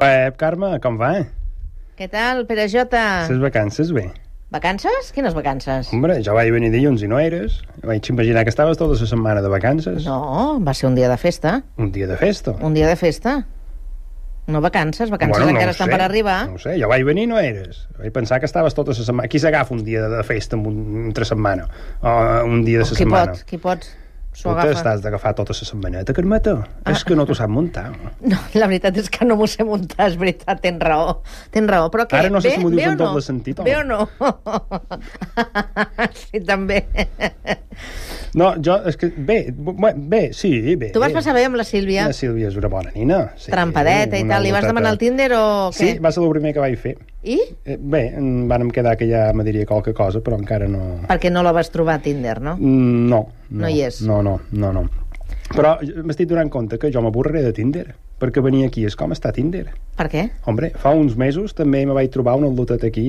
Web, Carme, com va? Què tal, Pere Jota? Les vacances bé? Vacances? Quines vacances? Hombre, jo vaig venir dilluns i no eres. Vaig imaginar que estaves tota la setmana de vacances. No, va ser un dia de festa. Un dia de festa. Un dia de festa. No vacances, vacances no encara ho estan sé, per arribar. No ho sé, jo vaig venir i no eres. Vaig pensar que estaves tota la setmana... Qui s'agafa un dia de festa amb un, entre setmana? O eh, un dia de la qui setmana? pot, qui pot s'ho Tu agafa. Ah. t'has d'agafar tota la setmaneta, Carmeta. És que no t'ho sap muntar. No, la veritat és que no m'ho sé muntar, és veritat, tens raó. Tens raó, però què? Ara no sé bé, si m'ho dius bé o en no? doble sentit, home. Bé o no? sí, també. No, jo... És que bé, bé, bé sí, bé. Tu vas passar bé amb la Sílvia? La Sílvia és una bona nina. Sí, Trampadeta i una tal. Li vas goteta. demanar el Tinder o què? Sí, va ser el primer que vaig fer. I? Eh, Bé, em vàrem quedar que ja me diria qualque cosa, però encara no... Perquè no la vas trobar a Tinder, no? Mm, No. No hi és. No, no, no, no. Però m'estic donant compte que jo m'avorraré de Tinder, perquè venir aquí és com està Tinder. Per què? Hombre, fa uns mesos també me vaig trobar una lotet aquí,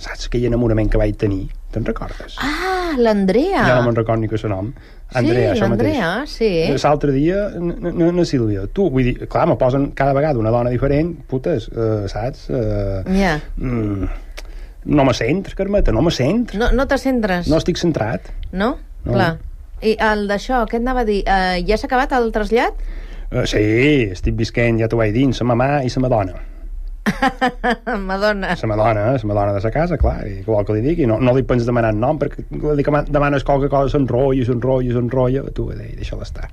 saps aquell enamorament que vaig tenir? Te'n recordes? Ah, l'Andrea. Ja no me'n record ni que seu nom. Andrea, sí, això mateix. l'Andrea, sí. L'altre dia, n- n- na Sílvia, tu, vull dir, clar, me posen cada vegada una dona diferent, putes, eh, saps? Eh, Ja. Mm, no me centres, Carmeta, no me centres. No, no te centres, No no? estic centrat. No. Clar. I el d'això, què et anava a dir? Eh, ja s'ha acabat el trasllat? Uh, sí, estic visquent, ja t'ho vaig dir, amb sa mamà i sa madona. Madonna. Sa madona, sa madona de sa casa, clar, i què vol que li digui? No, no li pens demanar nom, perquè li que demanes qualque cosa, s'enrotlla, s'enrotlla, s'enrotlla, tu, eh, deixa-la estar.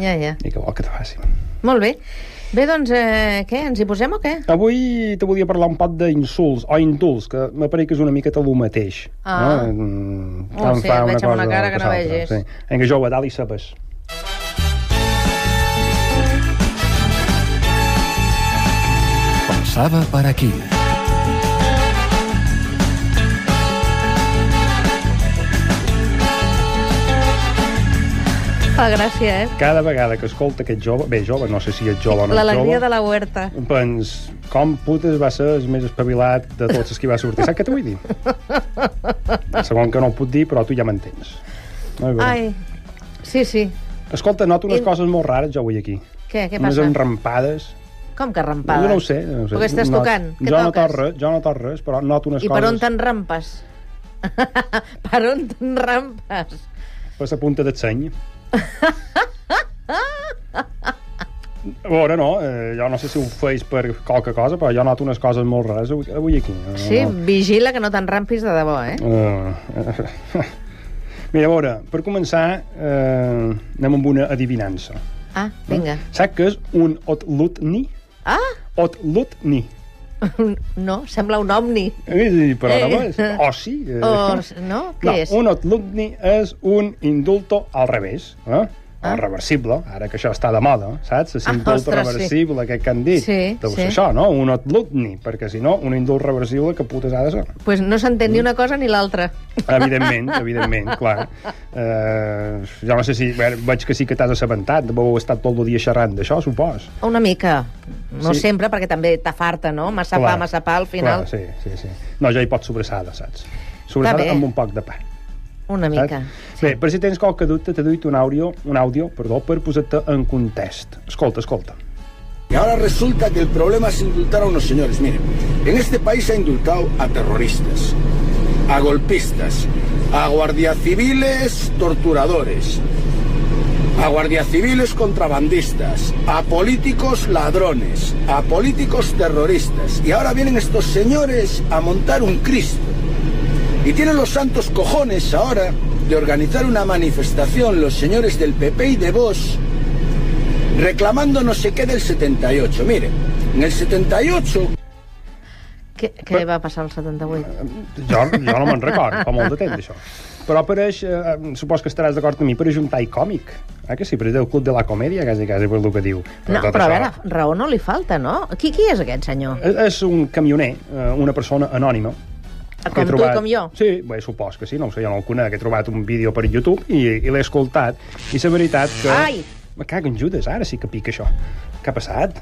Ja, ja. I què vol que te faci? Molt bé. Bé, doncs, eh, què, ens hi posem o què? Avui te volia parlar un poc d'insults o indults, que m'apareix que és una miqueta el mateix. Ah. No? Mm, Oh, tant sí, fa et una veig amb una cosa cara que no l'altra, vegis. Sí. Vinga, jove, dalt i sabes. Pasaba per aquí. Fa gràcia, eh? Cada vegada que escolta aquest jove, bé, jove, no sé si ets jove o no ets L'alegria jove, de la huerta. Pens, com putes va ser el més espavilat de tots els que hi va sortir. Saps què t'ho vull dir? Segon que no ho puc dir, però tu ja m'entens. Molt bé. Ai, sí, sí. Escolta, noto unes In- coses molt rares jo avui aquí. Què, què Unes passa? enrampades. Com que rampades? Jo no ho sé. No ho sé. Però què estàs Not- tocant? Què jo no toques? toc res, jo no toc res, però noto unes I per coses... on te'n rampes? per on te'n rampes? Per la punta del seny. A veure, no, eh, jo no sé si ho feis per qualque cosa, però jo noto unes coses molt rares avui, avui aquí. No, Sí, no. vigila que no te'n rampis de debò, eh? Eh, Mira, a veure, per començar, eh, anem amb una adivinança. Ah, vinga. Saps què és un otlutni? Ah, Otlutni. no, sembla un omni. Eh, Però no Eh. és oci. Eh. O, no? Què no, és? un otlutni és un indulto al revés. Eh? Ah. Ah. reversible, ara que això està de moda, saps? És Ah, indult ostres, sí. reversible, aquest que han dit. Sí, Deu sí. ser això, no? Un otlutni, perquè si no, un indult reversible que putes ha de ser. Pues no s'entén ni una cosa ni l'altra. Evidentment, evidentment, clar. Uh, jo no sé si... Bé, veig que sí que t'has assabentat. Deveu estar tot el dia xerrant d'això, supos. Una mica. No Sí. sempre, perquè també t'afarta, no? Massa pa, Clar, massa pa, al final. Clar, sí, sí, sí. No, ja hi pots sobrassada, saps? Sobrassada bé. amb un poc de pa. Una mica. Saps? Bé, per si tens qualque dubte, t'he duit un àudio, un àudio perdó, per posar-te en context. Escolta, escolta. Y ahora resulta que el problema es indultar a unos señores. Miren, en este país se ha indultado a terroristas, a golpistas, a guardias civiles torturadores, a guardias civiles contrabandistas, a políticos ladrones, a políticos terroristas. Y ahora vienen estos señores a montar un Cristo. Y tienen los santos cojones ahora de organizar una manifestación los señores del PP y de Vox reclamando no sé qué del 78. Mire, en el 78 Què, què va passar al Eh, 78? Jo, jo no me'n record, fa molt de temps, això. Però apareix, eh, supos que estaràs d'acord amb mi, per un tall còmic. Eh que sí? Apareix del Club de la Comèdia, quasi, quasi, per el que diu. No, tot però això- a Eh, veure, raó no li falta, no? Qui, qui és aquest senyor? És- És un camioner, eh, una persona anònima. Ah, Com que he tu i com jo? Sí, bé, supos que sí, no ho sé, jo no el conec. He trobat un vídeo per YouTube i, i l'he escoltat. I la veritat que... Ai! Me cago en Judes, ara sí que pica això. Què ha passat?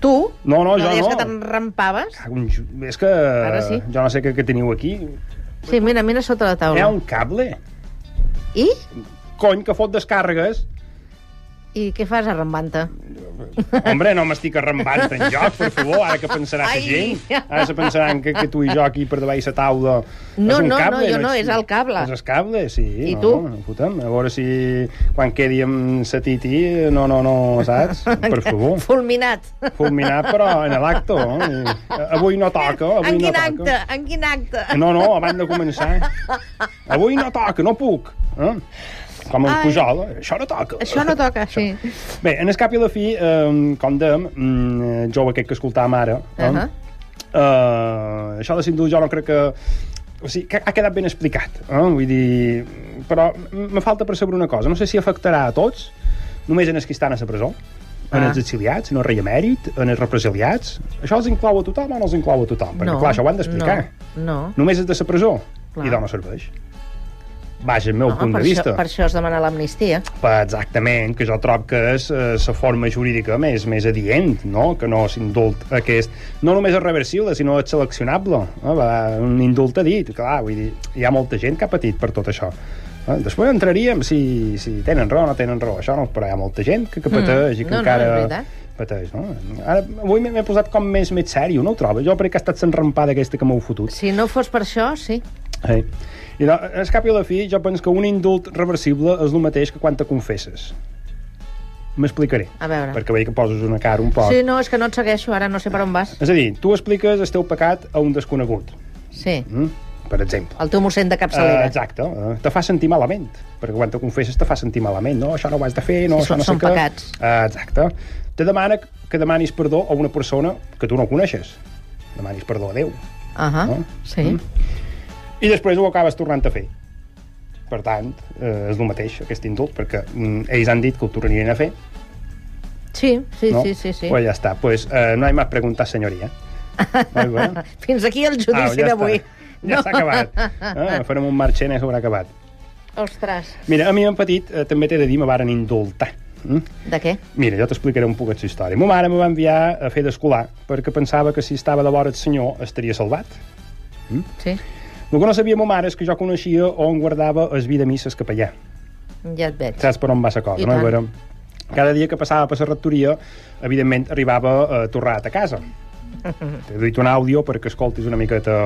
Tu? No, no, jo deies no. que te'n rampaves? Cago en Ju- És que... Ara sí. Jo no sé què, què teniu aquí. Sí, mira, mira sota la Hi taula. ha un cable. I? Cony, que fot descàrregues. I què fas arrambant-te? Hombre, no m'estic arrambant en joc, per favor, ara que pensarà la Ai. gent. Ara se pensaran que, que tu i jo aquí per davall la taula... No, és un no, cable, no, jo no, és el cable. És el cable, sí. I no, tu? no, Fotem, a veure si quan quedi amb la titi, no, no, no, saps? Per favor. Fulminat. Fulminat, però en l'acto. Eh? Avui no toca, avui no en quin toca. acte? En quin acte? No, no, abans de començar. eh? Avui no toca, no puc. Eh? Com el Ai. Pujol, eh? això no toca. Això no toca, sí. Bé, en el cap i la fi, eh, com dèiem, mm, jo aquest que escoltàvem ara, eh, Ahà. eh, això de Sindhu jo no crec que... O sigui, que ha quedat ben explicat, eh? vull dir... Però me falta percebre una cosa, no sé si afectarà a tots, només en els que estan a la presó, en Ah. els exiliats, en el rei emèrit, en els represaliats... Això els inclou a tothom o no els inclou a tothom? Perquè, No, clar, això ho han d'explicar. No, no. Només és de la presó Clar. i dona serveix. Vaja, el meu no punt per, de vista. Això, per això es demana l'amnistia. Per exactament, que jo trob que és eh, la forma jurídica més més adient, no? que no s'indult aquest... No només és reversible, sinó és seleccionable. Eh? Va, un indult ha dit, clar, vull dir, hi ha molta gent que ha patit per tot això. Eh? Després entraríem si, si tenen raó o no tenen raó, això no, però hi ha molta gent que, que pateix i que No, Mm. no, és encara... veritat. pateix, no? Ara, avui m'he m'he posat com més, més sèrio, no ho trobo? Jo crec que ha estat s'enrampada aquesta que m'heu fotut. Si no fos per això, sí. Sí. I no, al cap i a la fi, jo penso que un indult reversible és el mateix que quan te confesses. M'explicaré. A veure. Perquè veig que poses una cara un poc. Sí, no, és que no et segueixo, ara no sé per on vas. És a dir, tu expliques el teu pecat a un desconegut, Sí, mm? per exemple. el teu mossèn de Eh, capçalera. exacte. eh, te fa sentir malament, perquè quan te confesses te fa sentir malament. No, això no ho has de fer, no, Sí, això són- no sé són què. pecats. Eh, exacte. Te demana que demanis perdó a una persona que tu no coneixes. Demanis perdó a Déu. Ahà, No? Mm. sí. i després ho acabes tornant a fer. Per tant, eh, és el mateix, aquest indult, perquè mm, ells han dit que ho tornarien a fer, Sí, sí, no? sí, sí, sí. Pues ja està, pues eh, no hay más preguntas, señoría. Muy bueno. Fins aquí el judici Ah, ja d'avui. està. Ja s'ha acabat. Ah, farem un marxent i s'haurà acabat. Ostres, Mira, a mi en petit eh, també t'he de dir, me varen indultar. Mm? de què? Mira, jo t'explicaré un poc aquesta història. Ma mare me va enviar a fer d'escolar perquè pensava que si estava de vora el senyor estaria salvat. Sí, El que no sabia ma mare és que jo coneixia on guardava es vida misses capellà. ja et veig. saps per on va la cosa, I no? tant. Però cada dia que passava per la rectoria, evidentment, arribava eh, torrat a casa. T'he dit un àudio perquè escoltis una miqueta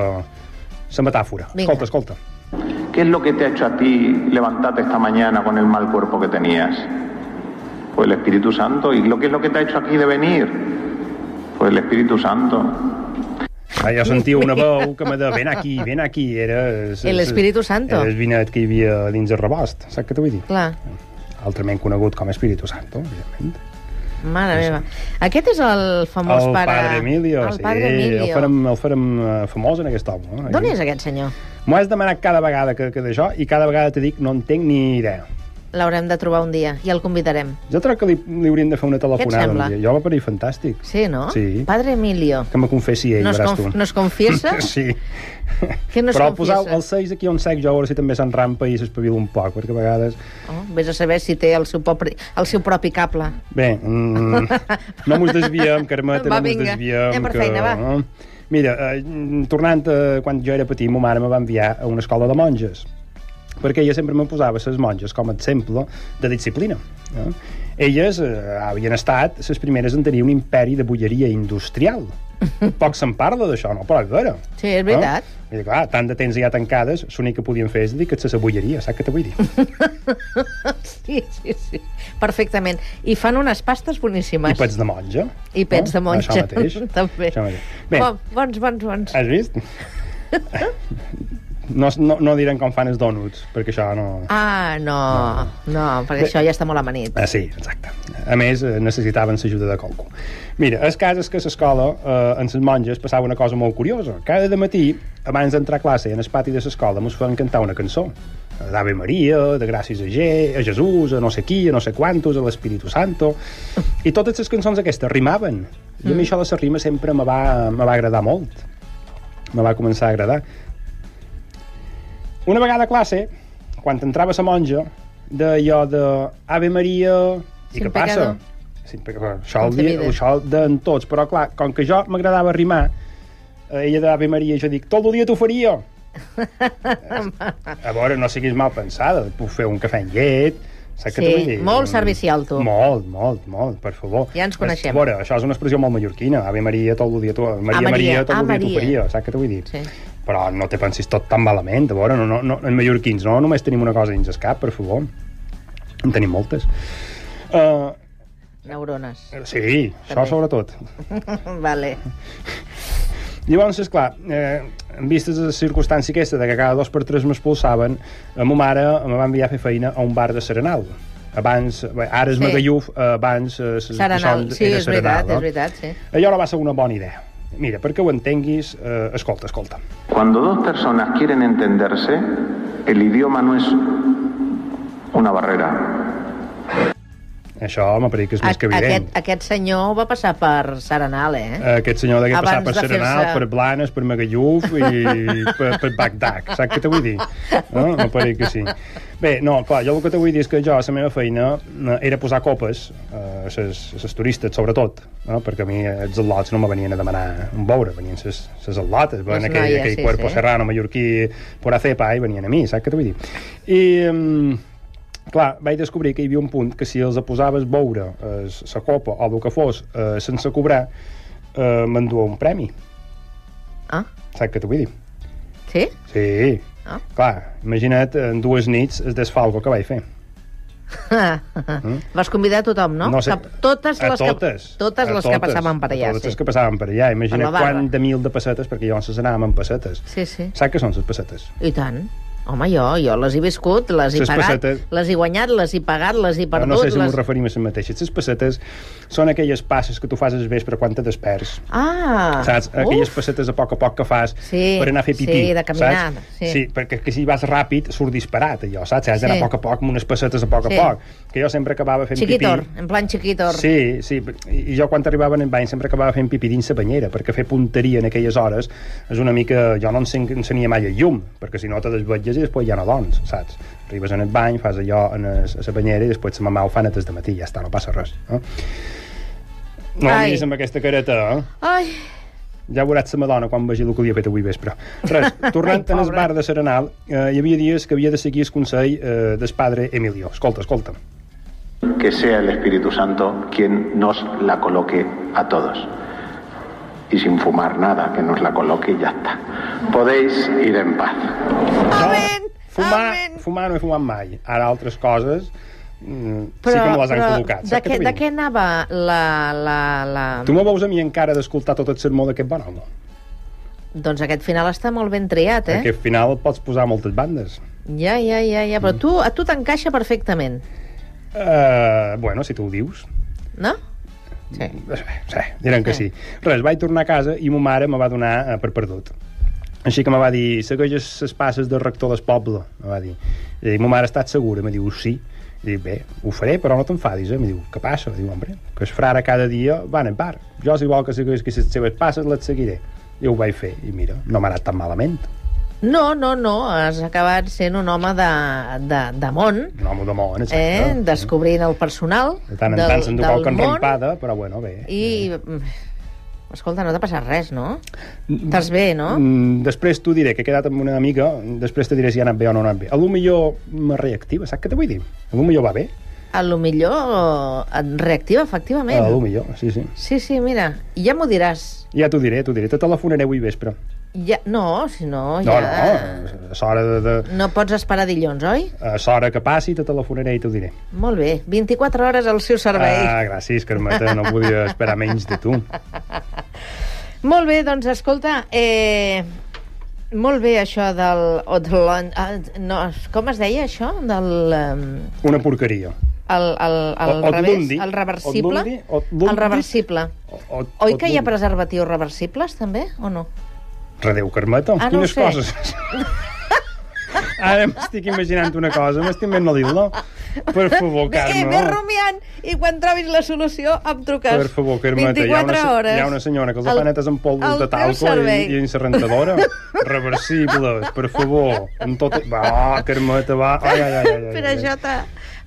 la metàfora. Vinga. Escolta, escolta. ¿Qué es lo que te ha hecho a ti levantarte esta mañana con el mal cuerpo que tenías? Pues el Espíritu Santo. ¿Y lo que es lo que te ha hecho aquí de venir? Pues el Espíritu Santo. Ah, jo sentia una veu que me de ven aquí, ven aquí. Era... es- El es- Espíritu Santo. Era el vinet que hi havia dins el rebost. Saps què t'ho vull dir? Clar, Altrament conegut com Espíritu Santo, evidentment. mare meva. Aquest és el famós El pare... padre Emilio, El sí. padre El Emilio. farem, el farem eh, famós en aquest home. No? D'on és aquest senyor? M'ho has demanat cada vegada que, que d'això i cada vegada te dic no en tinc ni idea. L'haurem de trobar un dia i el convidarem. Jo crec que li, li haurien de fer una telefonada. sembla? un dia. Jo va parir fantàstic. Sí, no? Sí. Padre Emilio. Que me confessi ell, Nos, veràs conf tu. nos confiesa? Sí. Què nos Però confiesa? posar el 6 aquí on sec jo, a veure si també s'enrampa i s'espavila un poc, perquè a vegades... Oh, vés a saber si té el seu, propi, el seu propi cable. Bé, mm, no mos desviem, Carmeta, no Va, mos vinga. desviem. Anem per feina, va. no? Mira, eh, mm, tornant a quan jo era petit, ma mare me va enviar a una escola de monges, perquè ella sempre me posava les monges com a exemple de disciplina. Eh? Elles eh, havien estat les primeres en tenir un imperi de bulleria industrial. Poc se'n parla d'això, no? Però a veure... Sí, és veritat. Eh? I, clar, tant de temps ja tancades, l'únic que podien fer és dedicar-se a la bulleria, saps què te vull dir? Sí, sí, sí. Perfectament. I fan unes pastes boníssimes. I pets de monja. I pets de monja. Això mateix. També. Això mateix. Bé, Eh. Bé. Bons, bons, bons. has vist? No, no, no diran com fan els donuts, perquè això no... Ah, no, no, perquè això ja està molt amanit. Ah, sí, exacte. A més, eh, necessitaven l'ajuda de qualcú. Mira, el cas és que a l'escola, eh, en les monges, passava una cosa molt curiosa. Cada de matí, abans d'entrar a classe, en el pati de l'escola, mos feien cantar una cançó. Eh, D'Ave Maria, de Gràcies a, Ge, a Jesús, a no sé qui, a no sé quantos, a l'Espíritu Santo... I totes les cançons aquestes rimaven. I a mi això de la rima sempre me va, me va agradar molt. Me va començar a agradar. Una vegada a classe, quan entrava la monja, d'allò de Ave Maria... I Sin què passa? pecado. Sin pecado. Això el, dia, Concebida. això el deien tots, però clar, com que jo m'agradava rimar, eh, ella d'Ave Maria, jo dic, tot el dia t'ho faria. a veure, no siguis mal pensada, puc fer un cafè amb llet, Saps Sí, què t'ho vull dir? molt servicial, tu. Molt, molt, molt, per favor. Ja ens coneixem. A veure, això és una expressió molt mallorquina. Ave Maria, tot el dia tu... Maria, Maria, Maria, tot a el dia tu Maria. paria. Saps què t'ho vull dir? Sí. Però no te pensis tot tan malament, a veure, no, no, no, en mallorquins no, només tenim una cosa dins el cap, per favor. En tenim moltes. Uh, Neurones. sí, També. això sobretot. vale. Llavors, esclar, eh, en vistes de la circumstància aquesta de que cada dos per tres m'expulsaven, la meva mare me va enviar a fer feina a un bar de Serenal. Abans, bé, ara és Sí. sí. Magalluf, eh, abans... Eh, se- Serenal. son- Sí, era és veritat, no? és veritat, sí. Allò no va ser una bona idea. Mira, perquè ho entenguis, eh, escolta, escolta. Cuando dos personas quieren entenderse, el idioma no es una barrera. Això m'ha parit que és A- més que evident. Aquest, aquest senyor va passar per Serenal, eh? Eh, Aquest senyor de que passar Abans per de Serenal, fer-se- per Blanes, per Magalluf i per, per Bagdad. Saps què te vull dir? No? no pareix que sí. Bé, no, clar, jo el que te vull dir és que jo, la meva feina eh, era posar copes eh, a les turistes, sobretot, no? perquè a mi els atlots no me venien a demanar un beure, venien les atlotes, Les veien aquell, noies, aquell sí, cuerpo sí. serrano mallorquí por acepa i venien a mi, saps què te vull dir? I... Um, Clar, vaig descobrir que hi havia un punt que si els posaves beure eh, sa copa o el que fos eh, sense cobrar, eh, m'endua un premi. Ah, Saps què t'ho vull dir? sí? Sí. Ah. Clar, imagina't en dues nits el desfalco que vaig fer. Vas convidar a tothom, no? Que- totes a les totes, que, totes a les que passaven per allà, A totes sí. les que passaven per allà. la Imagina't barra. quant de mil de pessetes, perquè llavors les anàvem amb pessetes. Sí, sí. Saps què són les pessetes? I tant. Home, jo, jo les he viscut, les he Ses pagat, pessetes. les he guanyat, les he pagat, les he Però perdut... eh? no sé si les... m'ho referim a les mateixes. Les pessetes són aquelles passes que tu fas al vespre quan te desperts. Ah! saps? Aquelles uf, pessetes a poc a poc que fas Sí, per anar a fer sí, pipí, de caminar, saps? sí. sí perquè que si vas ràpid surt disparat allò, saps? Has d'anar Sí. a poc a poc amb unes pessetes a poc Sí. a poc. Que jo sempre acabava fent Chiquitor, pipí. en plan chiquitor. Sí, sí, i jo quan arribava en bany sempre acabava fent pipí dins la banyera, perquè fer punteria en aquelles hores és una mica... Jo no encen- encenia mai el llum, perquè si no te desvetlles i després ja no dones, saps? Arribes en el bany, fas allò en es- a la banyera i després la mamà ho fan a des de matí, ja està, no passa res. Eh? No Ai. Ai. miris amb aquesta careta, eh? Ai, Ja veuràs la Madonna quan vegi el que havia fet avui vespre. Res, tornant Ai, al pobre. bar de Serenal, eh, hi havia dies que havia de seguir el consell eh, del padre Emilio. Escolta, escolta. Que sea el Espíritu Santo quien nos la coloque a todos. Y sin fumar nada, que nos la coloque y ya está. Podéis ir en paz. amén, Fumar, amén. fumar no he fumat mai. Ara altres coses mm, sí que me les han col·locat. De saps què, t'ho de dic? què anava la... la, la... Tu me veus a mi encara d'escoltar tot el sermó d'aquest bon home. Eh? Doncs aquest final està molt ben triat, eh? Perquè al final pots posar a moltes bandes. Ja, ja, ja, ja. Mm. Però tu, a tu t'encaixa perfectament, Eh, bueno, si tu ho dius. no? Sí. Sí, diran que sí. Res, vaig tornar a casa i ma mare me va donar eh, per perdut. Així que me va dir, segueixes les passes del rector del poble, me va dir. I ma mare, estàs segura? Me diu, sí. I dic, bé, ho faré, però no t'enfadis, eh? Me diu, què passa? Diu, hombre, que es frare cada dia van en bar. Jo, si vol que segueixi les seves passes, les seguiré. I ho vaig fer, i mira, no m'ha anat tan malament. No, no, no. Has acabat sent un home de, de, de món, Un home de món, eh? exacte. Descobrint el personal De tant en del, tant se'n du del qualque món. enrampada, però bueno, bé. I... mm, Escolta, no t'ha passat res, no? Estàs bé, no? Mm, després t'ho diré, que he quedat amb una amiga, després te diré si ha anat bé o no ha anat bé. A lo millor me reactiva, saps què te vull dir? A lo millor va bé, A lo millor eh, et reactiva, a lo efectivament. millor, sí, sí. Sí, sí, mira, ja m'ho diràs. Ja t'ho diré, t'ho diré. Tota Te telefonaré avui vespre. Ja, no, si no, No, ja... no, a l'hora de, de, No pots esperar dilluns, oi? a l'hora que passi te telefonaré i t'ho diré. Molt bé, 24 hores al seu servei. Ah, gràcies, Carmeta, no podia esperar menys de tu. Molt bé, doncs escolta, eh, molt bé això del... O de l'on- ah, no, com es deia això? Del... eh, em, Una porqueria. El, el, el, O- revés, Otlundi. el reversible? Otlundi, Otlundi. El reversible. O, Oi que hi ha tu- preservatius reversibles, també, o no? Redeu, Carmeta, Ah, no ho quines sé. coses. Ara m'estic imaginant una cosa, m'estic ben no dir-la. Per favor, Carme. Eh, ves rumiant i quan trobis la solució em truques. Per favor, Carmeta, hi ha, una, 24 hores. hi ha una senyora que els Al- planetes en polvos al de teu talco i, servei. i en la rentadora. Reversibles, per favor. En tot... Va, Carmeta, va. Ai, ai, ai, ai, ai, Pere Jota,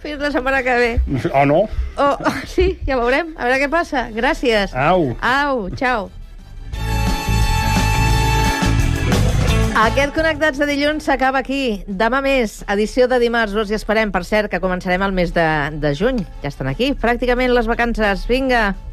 fins la setmana que ve. Oh, no? Oh, oh, sí, ja veurem. A veure què passa. Gràcies. Au. Au, ciao. Aquest Connectats de dilluns s'acaba aquí. Demà més, edició de dimarts. Us hi esperem, per cert, que començarem el mes de, de juny. Ja estan aquí, pràcticament les vacances. Vinga!